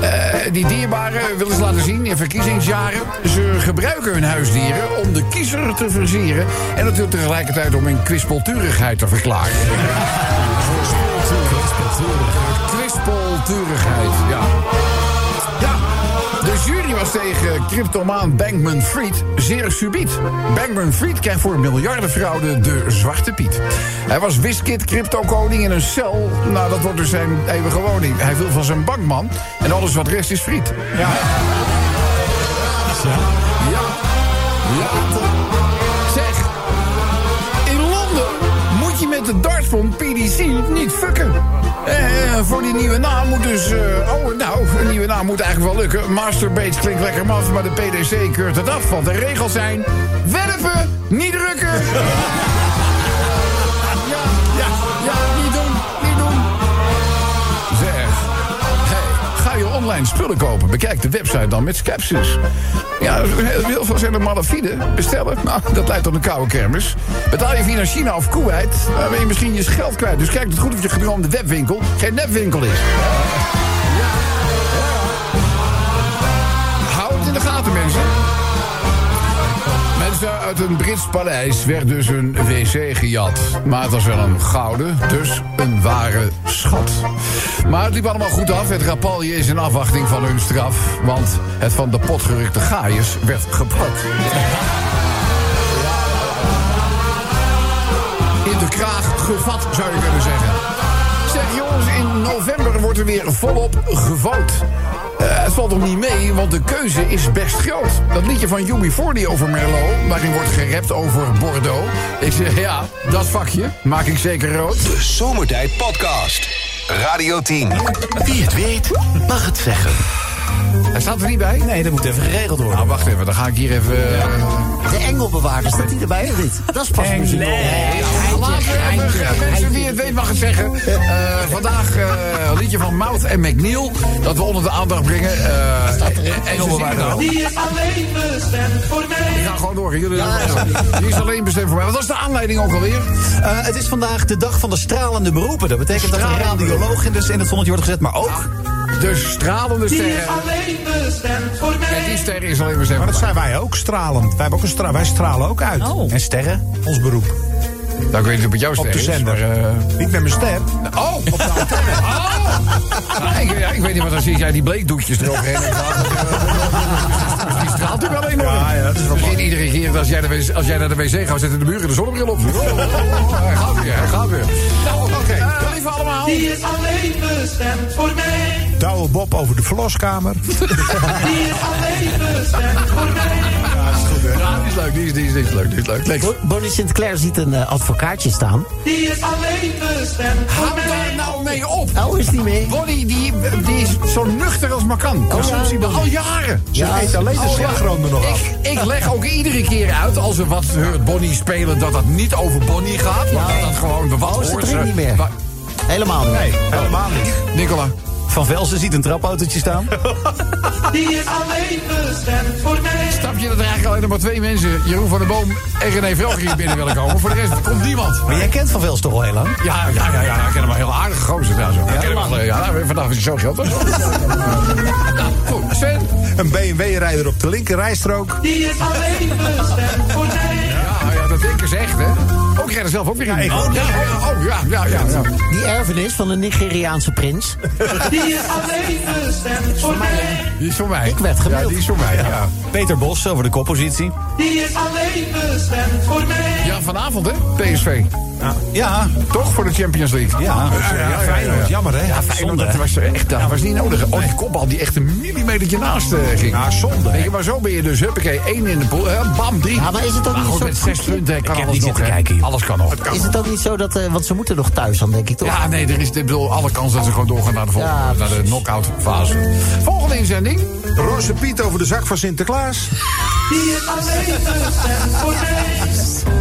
Speaker 2: Eh, die dierbaren willen ze laten zien in verkiezingsjaren. Ze gebruiken hun huisdieren om de kiezer te versieren. En natuurlijk tegelijkertijd om hun kwispelturigheid te verklaren. Kwispelturigheid, ja. Ja, de jury was tegen cryptomaan Bankman Fried zeer subiet. Bankman Fried krijgt voor miljardenfraude de Zwarte Piet. Hij was Wiskit crypto-koning in een cel. Nou, dat wordt dus zijn eeuwige woning. Hij viel van zijn bankman en alles wat rest is friet. Ja. Ja. Ja. Zeg, in Londen moet je met de dart van PDC niet fucken. Eh, voor die nieuwe naam moet dus... eh, oh, nou, een nieuwe naam moet eigenlijk wel lukken. Masterbase klinkt lekker maf, maar de PDC keurt het af. Want de regels zijn... Werpen, niet drukken. ja, ja, ja, niet doen, niet doen. Zeg. Hey, ga je online spullen kopen? Bekijk de website dan met sceptisch. Ja, heel veel zijn er malafide. Bestellen, nou, dat leidt tot een koude kermis. Betaal je via naar China of Kuwait, dan ben je misschien je geld kwijt. Dus kijk het goed of je gedroomde webwinkel geen nepwinkel is. Hou het in de gaten, mensen. Mensen uit een Brits paleis werd dus een wc gejat. Maar het was wel een gouden, dus een ware schat. Maar het liep allemaal goed af. Het rapalje is in afwachting van hun straf. Want het van de pot gerukte gaaiers werd gepakt. In de kraag gevat, zou je kunnen zeggen. Zeg jongens, in november wordt er weer volop gevoot. Eh, het valt nog niet mee, want de keuze is best groot. Dat liedje van UB40 over Merlot, waarin wordt gerapt over Bordeaux. Ik zeg, ja, dat vakje maak ik zeker rood.
Speaker 1: De Zomertijd Podcast. Radio 10.
Speaker 9: Wie het weet, mag het zeggen.
Speaker 2: Hij staat er niet bij?
Speaker 5: Nee, dat moet even geregeld worden.
Speaker 2: Nou, wacht even, dan ga ik hier even... eh,
Speaker 7: De engelbewaarders, staat die erbij of niet? Dat is pas muziek.
Speaker 2: Laten we even, mensen die het weet mag het zeggen. Eh, vandaag eh, een liedje van Mouth en McNeil. Dat we onder de aandacht brengen. Eh, en- en ze zingen nou.
Speaker 8: Die is alleen bestemd voor mij.
Speaker 2: Ja, gewoon door. Jullie Die is alleen bestemd voor mij. Wat was de aanleiding ook alweer?
Speaker 5: Eh, het is vandaag de dag van de stralende beroepen. Dat betekent dat een
Speaker 2: Stralende
Speaker 5: radioloog in, de, in het zonnetje wordt gezet, maar ook...
Speaker 2: De stralende
Speaker 8: Die is
Speaker 2: sterren.
Speaker 8: alleen bestemd voor
Speaker 2: En eh, die
Speaker 8: mij.
Speaker 2: ster is alleen bestemd
Speaker 4: Maar
Speaker 2: voor
Speaker 4: dat zijn wij ook stralend. Wij, hebben ook een stra wij stralen ook uit.
Speaker 5: En sterren?
Speaker 4: Ons beroep.
Speaker 2: mij. Nou, ik weet niet of het jouw ster
Speaker 4: Op de
Speaker 2: is,
Speaker 4: zender.
Speaker 2: maar, eh,
Speaker 4: Ik ben mijn ster.
Speaker 2: Oh! Op de antenne. Oh! Nou, ik, ja, ik weet niet wat dan zie jij die bleekdoekjes eroverheen. hebt gehad. eh, Die straalt natuurlijk wel enorm.
Speaker 4: Ja, ja, dat is wel
Speaker 2: Misschien iedere keer als jij, de wc als jij naar de wc gaat, zetten de buren de zonnebril op. Oh, oh, oh, Hij gaat weer, hij gaat weer. Nou, oké. eh, lieve allemaal.
Speaker 8: Die is alleen bestemd voor mij.
Speaker 4: Douwe Bob over de verloskamer.
Speaker 8: Die is alleen bestemd voor mij.
Speaker 2: Ja, die is leuk, die is, die is, die is leuk, die is leuk. Leuk.
Speaker 7: Bo- Bonnie Sinclair ziet een eh, advocaatje staan.
Speaker 8: Die is alleen bestemd voor
Speaker 2: Hou daar
Speaker 8: mij.
Speaker 2: nou mee op.
Speaker 7: Oh, is die mee?
Speaker 2: Bonnie, die, die is zo nuchter als maar kan.
Speaker 5: Oh.
Speaker 2: Consumptie al jaren.
Speaker 4: Ze eet alleen de
Speaker 2: Oh, ja.
Speaker 4: slagroom er nog af.
Speaker 2: Ik, ik leg ook iedere keer uit als we wat hoort Bonnie spelen, dat dat niet over Bonnie gaat. Maar dat dat gewoon de wat
Speaker 7: Oh, ze
Speaker 2: hoort
Speaker 7: drinkt niet meer.
Speaker 2: Wa-
Speaker 7: Helemaal niet.
Speaker 4: Nee, helemaal niet.
Speaker 2: Nicola.
Speaker 5: Van Velsen ziet een trapautootje staan.
Speaker 8: Die is alleen bestemd voor mij.
Speaker 2: Snap je dat er eigenlijk alleen nog maar twee mensen, Jeroen van der Boom en René Velger hier binnen willen komen? Voor de rest komt niemand.
Speaker 5: Maar jij kent Van Velsen toch al heel lang?
Speaker 2: Ja, ja, ja, ja. Ik ken hem wel heel aardige gozer daar zo. Ja, ja, ja, nou, vandaag is hij zo geld. was. nou, goed. Sven.
Speaker 4: Een BMW-rijder op de linker rijstrook.
Speaker 8: Die is alleen bestemd voor mij.
Speaker 2: Ja, ja, dat denken ze dus echt, hè. Ook jij er zelf ook weer in? Oh, ja, oh, ja, ja, ja. ja.
Speaker 7: Die erfenis van de Nigeriaanse prins.
Speaker 8: Die is alleen bestemd voor mij.
Speaker 2: Die is voor mij.
Speaker 7: Ik werd gemaild.
Speaker 2: Ja, die is voor mij, ja.
Speaker 5: Peter Bos over de koppositie.
Speaker 8: Die is alleen bestemd voor mij.
Speaker 2: Ja, vanavond, hè? PSV.
Speaker 5: Ja,
Speaker 2: Toch voor de Champions League?
Speaker 5: ja.
Speaker 2: ja, ja.
Speaker 4: Feyenoord, jammer hè.
Speaker 2: Ja, Feyenoord, dat was echt dat was niet nodig. Oh, die kopbal die echt een millimetertje naast eh, ging.
Speaker 4: Ja, zonde.
Speaker 2: Weet
Speaker 4: hè.
Speaker 2: je, maar zo ben je dus, huppakee, één in de pool, hè, bam, drie.
Speaker 7: Ja, maar is het ook
Speaker 2: Maar
Speaker 7: niet
Speaker 2: goed,
Speaker 7: zo-
Speaker 2: met zes punten kan
Speaker 5: heb
Speaker 2: alles
Speaker 5: niet
Speaker 2: nog,
Speaker 5: zitten
Speaker 2: hè.
Speaker 5: kijken, joh.
Speaker 2: Alles kan nog.
Speaker 7: Is het ook niet zo dat... eh, want ze moeten nog thuis dan, denk ik, toch?
Speaker 2: Ja, nee, er is ik bedoel, alle kans dat ze gewoon doorgaan naar de volgende,
Speaker 7: Ja,
Speaker 2: naar de
Speaker 7: precies.
Speaker 2: knock-out fase. Volgende inzending.
Speaker 4: Roze Piet over de zak van Sinterklaas.
Speaker 8: Die is alleen bestemd voor mij.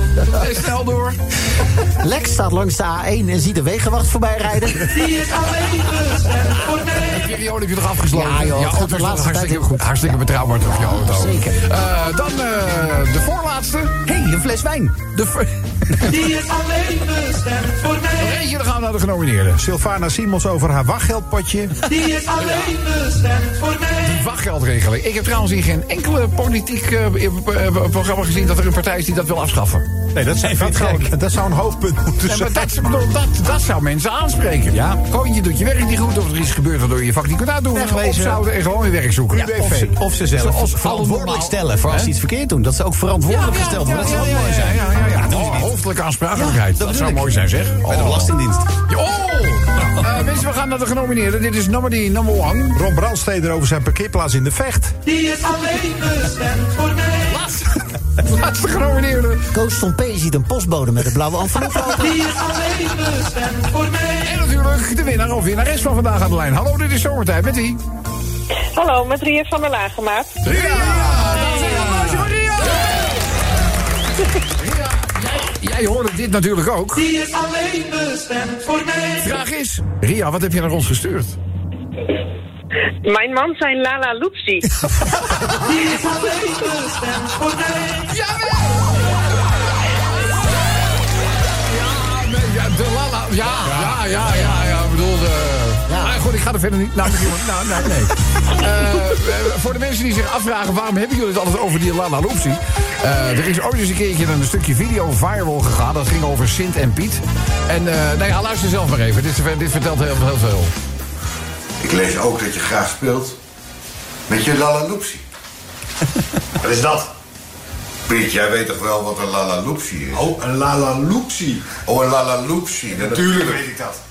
Speaker 2: Snel door.
Speaker 7: Lex staat langs de A1 en ziet de wegenwacht voorbij rijden.
Speaker 8: Die is alleen bestemd voor mij.
Speaker 2: Periode heb je toch afgesloten?
Speaker 7: Ja, joh,
Speaker 2: Je
Speaker 7: het gaat
Speaker 2: auto
Speaker 7: de
Speaker 2: is
Speaker 7: laatste
Speaker 2: hartstikke
Speaker 7: tijd-
Speaker 2: goed. Hartstikke betrouwbaar toch, je auto.
Speaker 7: Zeker.
Speaker 2: Eh, dan eh, de voorlaatste.
Speaker 5: Hé, hey, een fles wijn.
Speaker 2: De ver-
Speaker 8: Die is alleen bestemd voor mij.
Speaker 2: Eentje, dan gaan we naar de genomineerden.
Speaker 4: Sylvana Simons over haar wachtgeldpotje.
Speaker 8: Die is alleen bestemd voor mij.
Speaker 2: Wachtgeldregeling. Ik heb trouwens in geen enkele politiek eh, eh, eh, programma gezien dat er een partij is die dat wil afschaffen.
Speaker 4: Nee, dat, zijn dat,
Speaker 2: gek.
Speaker 4: gewoon- Oh, dat zou een hoofdpunt moeten
Speaker 2: Nee, maar
Speaker 4: zijn.
Speaker 2: dat, ik bedoel, dat, dat zou mensen aanspreken.
Speaker 5: Ja.
Speaker 2: Gewoon, je doet je werk niet goed of er is gebeurd waardoor je je vak niet kunt uitdoen.
Speaker 5: Wegwezen.
Speaker 2: Opzouden en gewoon je werk zoeken.
Speaker 4: Ja,
Speaker 5: Of ze, of ze zelf
Speaker 2: Zoals
Speaker 5: verantwoordelijk
Speaker 2: allemaal.
Speaker 5: stellen voor als
Speaker 2: Hè?
Speaker 5: ze iets verkeerd doen. Dat ze ook verantwoordelijk gesteld worden. Dat zou ook mooi zijn.
Speaker 2: Ja, ja, ja.
Speaker 5: dat doen ze
Speaker 2: Oh,
Speaker 5: niet.
Speaker 2: hoofdelijke aansprakelijkheid.
Speaker 5: Ja,
Speaker 2: dat zou
Speaker 5: dat bedoel
Speaker 2: mooi
Speaker 5: ik.
Speaker 2: zijn, zeg.
Speaker 5: Bij de Belastingdienst.
Speaker 2: Oh! Eh, mensen, we gaan naar de genomineerden. Dit is nominee number one.
Speaker 4: Ron Brandsteder over zijn parkeerplaats in de vecht.
Speaker 8: Die is alleen bestemd voor mij.
Speaker 2: Laatste, laatste genomineerde.
Speaker 7: Koos van P. ziet een postbode met een blauwe envelop lopen.
Speaker 8: Die is alleen bestemd voor mij.
Speaker 2: En natuurlijk de winnaar of winnares van vandaag aan de lijn. Hallo, dit is Zomertijd met die.
Speaker 10: Hallo, met Ria van der Lagemaat.
Speaker 2: Ria! Dames en heren, applausje voor Ria! Ria, jij- Jij hoorde dit natuurlijk ook.
Speaker 8: Die is alleen bestemd voor mij.
Speaker 2: Vraag is, Ria, wat heb je naar ons gestuurd?
Speaker 10: Mijn man zijn Lala Loopsie.
Speaker 8: Die is alleen bestemd voor mij.
Speaker 2: Nee, ja, de lala. Ja, ja, ja, ja, ja. Ik bedoel, de... Maar goed, ik ga er verder niet. Nou, misschien- nou, nou nee. Eh, eh, voor de mensen die zich afvragen waarom hebben jullie het altijd over die lala loopsie. Eh, er is ooit eens een keertje een stukje video viral gegaan. Dat ging over Sint en Piet. En eh, nee, ja, luister zelf maar even. Dit, is- dit vertelt heel, heel veel.
Speaker 11: Ik lees ook dat je graag speelt met je lalaloopsie. wat is dat? Piet, jij weet toch wel wat een lalaloopsie is? Oh, een lalaloopsie. Oh, een lalaloopsie. Natuurlijk weet ik dat.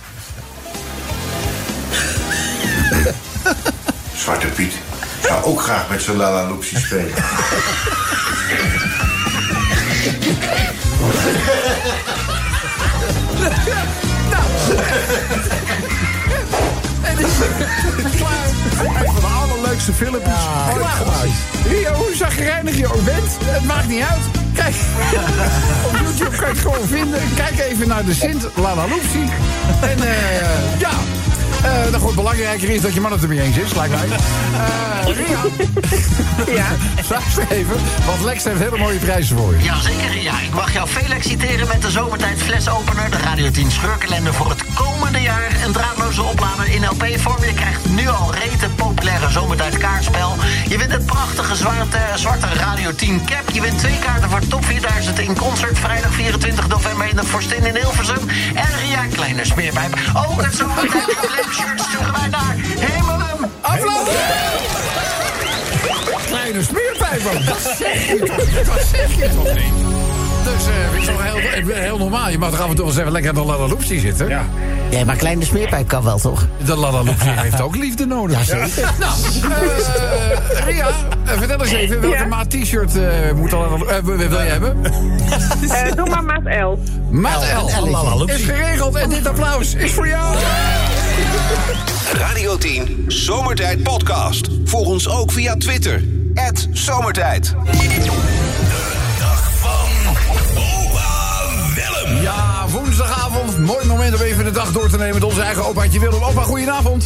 Speaker 11: Zwarte Piet zou ook graag met zijn lalaloopsie spelen.
Speaker 2: Een van de allerleukste filmpjes. Rio, hoe zagrijnig je ook bent, het maakt niet uit. Kijk, op YouTube kan je het gewoon vinden. Kijk even naar de Sint Lalaroepsie. En eh ja, Eh nou goed, belangrijker is dat je man het ermee eens is, lijkt mij. Eh Ria,
Speaker 10: ja.
Speaker 2: luister even, want Lex heeft hele mooie prijzen voor je.
Speaker 7: Jazeker, ja. Ik mag jou Felix citeren met de zomertijd flesopener, de Radio 10 scheurkalender voor het komende jaar, een draadloze oplader in LP-vorm. Je krijgt nu al rete populaire zomertijd kaartspel. Je wint het prachtige zwarte, zwarte Radio 10 cap. Je wint twee kaarten voor Top 4000 in concert vrijdag 24 november in de Forstin in Hilversum. En Ria Kleine smeerpijp. Ook het zomertijd shirt sturen wij naar Hemelum.
Speaker 2: Afloop! Kleine smeerpijp ook. Dat zeg je toch, dat zeg je toch niet. Dus eh het is toch heel, heel normaal. Je mag er af en toe wel eens even lekker aan de Lalaroepsie zitten. Ja.
Speaker 7: Nee, maar Kleine smeerpijp kan wel, toch?
Speaker 2: De Lalaroepsie heeft ook liefde nodig.
Speaker 7: zeker.
Speaker 2: Nou, eh, Ria, eh, vertel eens even welke
Speaker 10: Ja?
Speaker 2: maat t-shirt eh, moet al, eh, wil je hebben?
Speaker 10: Eh, doe maar maat L.
Speaker 2: Maat
Speaker 7: een
Speaker 2: L.
Speaker 7: Lalaroepsie.
Speaker 2: Is geregeld en dit applaus is voor jou.
Speaker 1: Radio 10 Zomertijd Podcast. Volg ons ook via Twitter. Zomertijd.
Speaker 2: Ja, woensdagavond. Mooi moment om even de dag door te nemen met onze eigen opaatje Willem. Opa, goedenavond.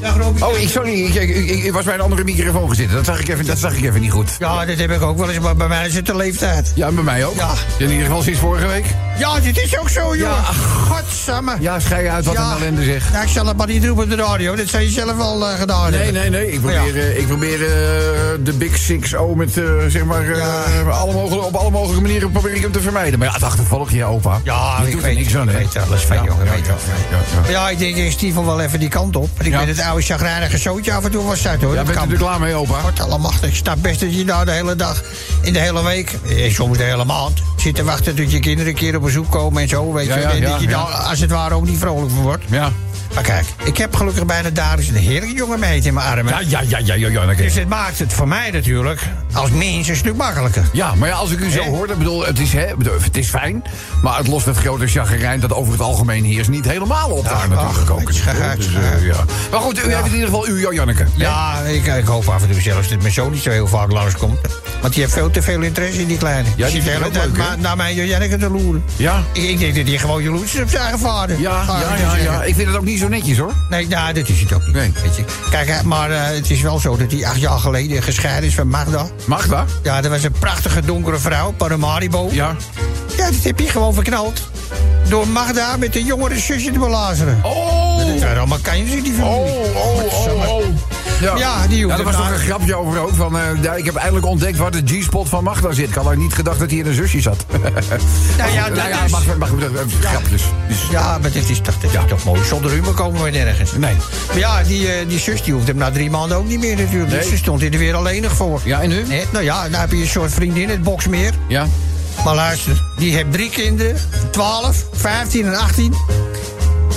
Speaker 2: dag Robby. Oh, ik, sorry, ik, ik, ik- ik was bij een andere microfoon gezitten. Dat zag ik even, dat zag ik even niet goed.
Speaker 8: Ja, dit heb ik ook wel eens, maar bij mij is het de leeftijd.
Speaker 2: Ja, bij mij ook.
Speaker 8: Ja.
Speaker 2: In ieder geval sinds vorige week.
Speaker 8: Ja, dit is ook zo, jongen.
Speaker 2: Ja.
Speaker 8: Godsamme.
Speaker 2: Ja, schei uit wat
Speaker 8: Ja.
Speaker 2: een ellende zeg.
Speaker 8: Nou, ik zal het maar niet doen op de radio. Dat zou je zelf al eh, gedaan
Speaker 2: Nee,
Speaker 8: hebben.
Speaker 2: nee, nee. Ik
Speaker 8: Maar ja.
Speaker 2: probeer, eh, ik probeer eh, de Big Six O met, eh, zeg maar, eh, alle mogelijke, op alle mogelijke manieren probeer ik hem te vermijden. Maar ja, het achtervolg je opa.
Speaker 8: Ja,
Speaker 2: Die
Speaker 8: ik
Speaker 2: doet er
Speaker 8: weet-
Speaker 2: niks aan,
Speaker 8: ik
Speaker 2: hè?
Speaker 8: weet alles van,
Speaker 2: Ja,
Speaker 8: jongen,
Speaker 2: ja,
Speaker 8: weet
Speaker 2: ja,
Speaker 8: alles van.
Speaker 2: ja, ja.
Speaker 8: Ja, ik denk, ik stiefel wel even die kant op. Want ik
Speaker 2: Ja.
Speaker 8: ben het oude chagrijnige zootje af en toe wel zat, hoor.
Speaker 2: Ja,
Speaker 8: Dat
Speaker 2: bent u
Speaker 8: kan.
Speaker 2: er klaar mee, opa?
Speaker 8: Wordt allemachtig. Ik snap best dat je nou de hele dag, in de hele week, eh, soms de hele maand... zit te wachten tot je kinderen een keer op bezoek komen en zo, weet
Speaker 2: Ja,
Speaker 8: je.
Speaker 2: ja,
Speaker 8: en
Speaker 2: ja,
Speaker 8: dat je
Speaker 2: ja.
Speaker 8: daar als het ware ook niet vrolijk van wordt.
Speaker 2: Ja.
Speaker 8: Maar kijk, ik heb gelukkig bijna dagelijks een heerlijke jongen meid in mijn armen.
Speaker 2: Ja, ja, ja, ja, ja, ja. oké.
Speaker 8: Dus het maakt het voor mij natuurlijk als mens een stuk makkelijker.
Speaker 2: Ja, maar ja, als ik u zo
Speaker 8: Hè?
Speaker 2: hoor, dan bedoel, het is, hè, bedoel, het is fijn. Maar het lost het grote chagrijn dat over het algemeen heerst niet helemaal op daar natuurlijk ook.
Speaker 8: het is gek,
Speaker 2: Dus,
Speaker 8: gek.
Speaker 2: eh, ja. Maar goed, u
Speaker 8: Ja.
Speaker 2: heeft in ieder geval uw Janneke.
Speaker 8: Ja, ik, ik hoop af en toe zelfs dat mijn zoon niet zo heel vaak langskomt. Want die heeft veel te veel interesse in die kleine.
Speaker 2: die
Speaker 8: Zit
Speaker 2: vindt
Speaker 8: de
Speaker 2: het
Speaker 8: hele
Speaker 2: ook
Speaker 8: tijd
Speaker 2: leuk, hè?
Speaker 8: maar naar Nou, mijn Janneke te loeren.
Speaker 2: Ja?
Speaker 8: Ik, ik denk dat hij gewoon jaloers is op zijn eigen vader.
Speaker 2: Ja,
Speaker 8: Ga ik
Speaker 2: ja,
Speaker 8: maar
Speaker 2: ja,
Speaker 8: zeggen.
Speaker 2: ja. Ik vind het ook niet zo netjes hoor.
Speaker 8: Nee, nou, dat is het ook niet.
Speaker 2: Nee.
Speaker 8: Weet je. Kijk, hè, maar eh, het is wel zo dat hij acht jaar geleden gescheiden is van Magda.
Speaker 2: Magda?
Speaker 8: Ja, Ah, dat was een prachtige donkere vrouw, Paramaribo.
Speaker 2: Ja.
Speaker 8: Ja, dat heb je gewoon verknald. Door Magda met een jongere zusje te belazeren.
Speaker 2: Oh!
Speaker 8: Dat zijn allemaal kanjers in die familie.
Speaker 2: Oh, oh, oh, oh.
Speaker 8: Ja, die hoeft
Speaker 2: er
Speaker 8: het
Speaker 2: was nog
Speaker 8: maar-
Speaker 2: een grapje over ook. Van, eh, ja, ik heb eindelijk ontdekt waar de G-spot van Magda zit. Ik had eigenlijk niet gedacht dat hij in een zusje zat.
Speaker 8: Nou ja,
Speaker 2: Nou
Speaker 8: dat
Speaker 2: ja,
Speaker 8: is-
Speaker 2: mag, mag, mag, eh, grapjes. Dus-
Speaker 8: Ja, Ah, maar dit is toch, dit is toch mooi. Zonder humor komen we nergens.
Speaker 2: Nee.
Speaker 8: Maar ja, die, eh, die zus die hoeft hem na drie maanden ook niet meer natuurlijk.
Speaker 2: Nee.
Speaker 8: Dus ze stond hier weer alleenig voor.
Speaker 2: Ja, en nu?
Speaker 8: Nee, nou ja, dan heb je een soort vriendin, het boksmeer.
Speaker 2: Ja.
Speaker 8: Maar luister, die heeft drie kinderen. 12, 15 en 18.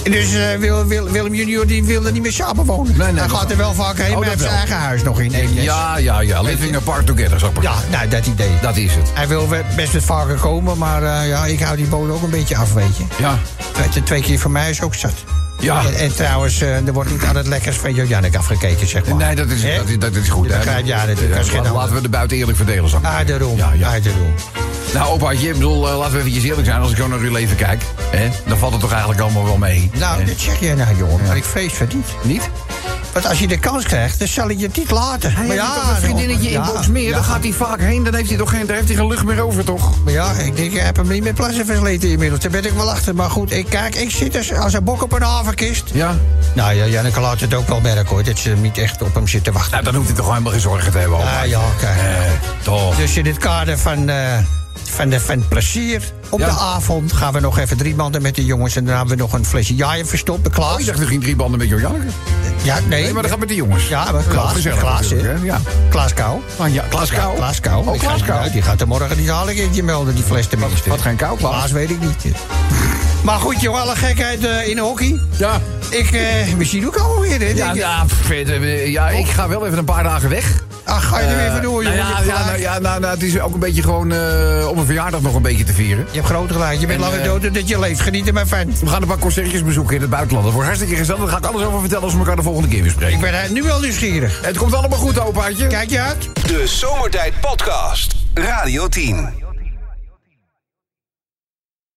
Speaker 8: En dus eh, Wil, Wil, Willem junior die wil er niet meer samen wonen.
Speaker 2: Nee, nee,
Speaker 8: Hij
Speaker 2: dat
Speaker 8: gaat
Speaker 2: wel.
Speaker 8: er wel vaak heen,
Speaker 2: Oh,
Speaker 8: maar hij
Speaker 2: dat
Speaker 8: heeft zijn
Speaker 2: wel.
Speaker 8: eigen huis nog in. Eemnes.
Speaker 2: Ja, ja, ja. Living apart together, zou ik maar
Speaker 8: ja, nou, dat idee.
Speaker 2: Dat is het.
Speaker 8: Hij wil we- best wat vaker komen, maar eh, ja, ik hou die bodem ook een beetje af, weet je.
Speaker 2: Ja.
Speaker 8: Twee, twee keer voor mij is ook zat.
Speaker 2: Ja.
Speaker 8: En, en trouwens, eh, er wordt niet aan het lekkers van Jojannik afgekeken, zeg maar.
Speaker 2: Nee, dat is,
Speaker 8: Hè?
Speaker 2: dat is, dat is goed.
Speaker 8: Je
Speaker 2: hè.
Speaker 8: begrijpt, ja, dat
Speaker 2: Ja,
Speaker 8: kan geen
Speaker 2: laten, laten we de buiten eerlijk verdelen. Zo.
Speaker 8: Ah, daarom.
Speaker 2: Ja, ja.
Speaker 8: Ah, daarom.
Speaker 2: Nou, opaatje, ik bedoel, eh, laten we eventjes eerlijk zijn. Als ik zo naar uw leven kijk, hè, dan valt het toch eigenlijk allemaal wel mee.
Speaker 8: Nou,
Speaker 2: Hè?
Speaker 8: dat zeg jij nou, jongen. Maar ik vrees van niet.
Speaker 2: niet?
Speaker 8: Want als je de kans krijgt, dan zal ik je het niet laten.
Speaker 2: Hij
Speaker 8: maar
Speaker 2: heeft
Speaker 8: ja,
Speaker 2: toch een vriendinnetje
Speaker 8: ja,
Speaker 2: in Boxmeer,
Speaker 8: ja.
Speaker 2: daar gaat hij vaak heen. Dan heeft hij toch geen, daar heeft hij geen lucht meer over, toch?
Speaker 8: Maar ja, ik denk, je hebt hem niet met plassen versleten inmiddels. Daar ben ik wel achter. Maar goed, ik, kijk, ik zit als, als een bok op een havenkist.
Speaker 2: Ja.
Speaker 8: Nou ja, Janneke laat het ook wel merken, hoor. Dat ze hem niet echt op hem zit te wachten.
Speaker 2: Nou, dan hoeft hij toch helemaal geen zorgen te hebben,
Speaker 8: Ah,
Speaker 2: opaatje.
Speaker 8: ja, kijk.
Speaker 2: Eh, toch.
Speaker 8: Dus in het kader van, eh, van, de, van plezier op
Speaker 2: Ja.
Speaker 8: de avond gaan we nog even drie banden met de jongens. En daarna hebben we nog een flesje jaaien verstopt bij
Speaker 2: Oh,
Speaker 8: Klaas.
Speaker 2: je dacht, er ging drie banden met Jorjanneke.
Speaker 8: ja, nee.
Speaker 2: Nee, maar dat gaat met de jongens.
Speaker 8: Ja, maar
Speaker 2: Dat is wel
Speaker 8: Klaas.
Speaker 2: gezellig
Speaker 8: Klaas, hè.
Speaker 2: natuurlijk, hè? Ja.
Speaker 8: Klaas Kou.
Speaker 2: Ah, ja, Klaas Kou.
Speaker 8: Ja, Klaas Kou.
Speaker 2: Oh,
Speaker 8: Ik
Speaker 2: Klaas
Speaker 8: ga-
Speaker 2: Kou.
Speaker 8: ja, Die gaat hem morgen niet halen, kindje melden, die fles tenminste.
Speaker 2: wat geen Kou, Klaas?
Speaker 8: weet ik niet. Maar goed, joh, alle gekheid eh, in de hockey.
Speaker 2: Ja.
Speaker 8: Ik, eh, misschien ook alweer, hè?
Speaker 2: Ja,
Speaker 8: denk ik.
Speaker 2: ja, pff, het, eh, ja, ik ga wel even een paar dagen weg.
Speaker 8: Ach, ga je er weer vandoor,
Speaker 2: Nou
Speaker 8: jongen.
Speaker 2: ja,
Speaker 8: je, hebt
Speaker 2: ja, nou,
Speaker 8: gelijk.
Speaker 2: ja, nou, nou, het is ook een beetje gewoon eh, om een verjaardag nog een beetje te vieren.
Speaker 8: je hebt groot gelijk. Je bent
Speaker 2: En,
Speaker 8: langer
Speaker 2: eh,
Speaker 8: dood dus dan dat je leeft. Geniet er maar van.
Speaker 2: We gaan een paar concertjes bezoeken in het buitenland. Dat wordt hartstikke gezellig. Daar ga ik alles over vertellen als we elkaar de volgende keer weer
Speaker 8: Ik
Speaker 2: spreken.
Speaker 8: ben eh, nu wel nieuwsgierig.
Speaker 2: Het komt allemaal goed, opaatje.
Speaker 8: Kijk je uit?
Speaker 1: De Zomertijd Podcast. Radio 10.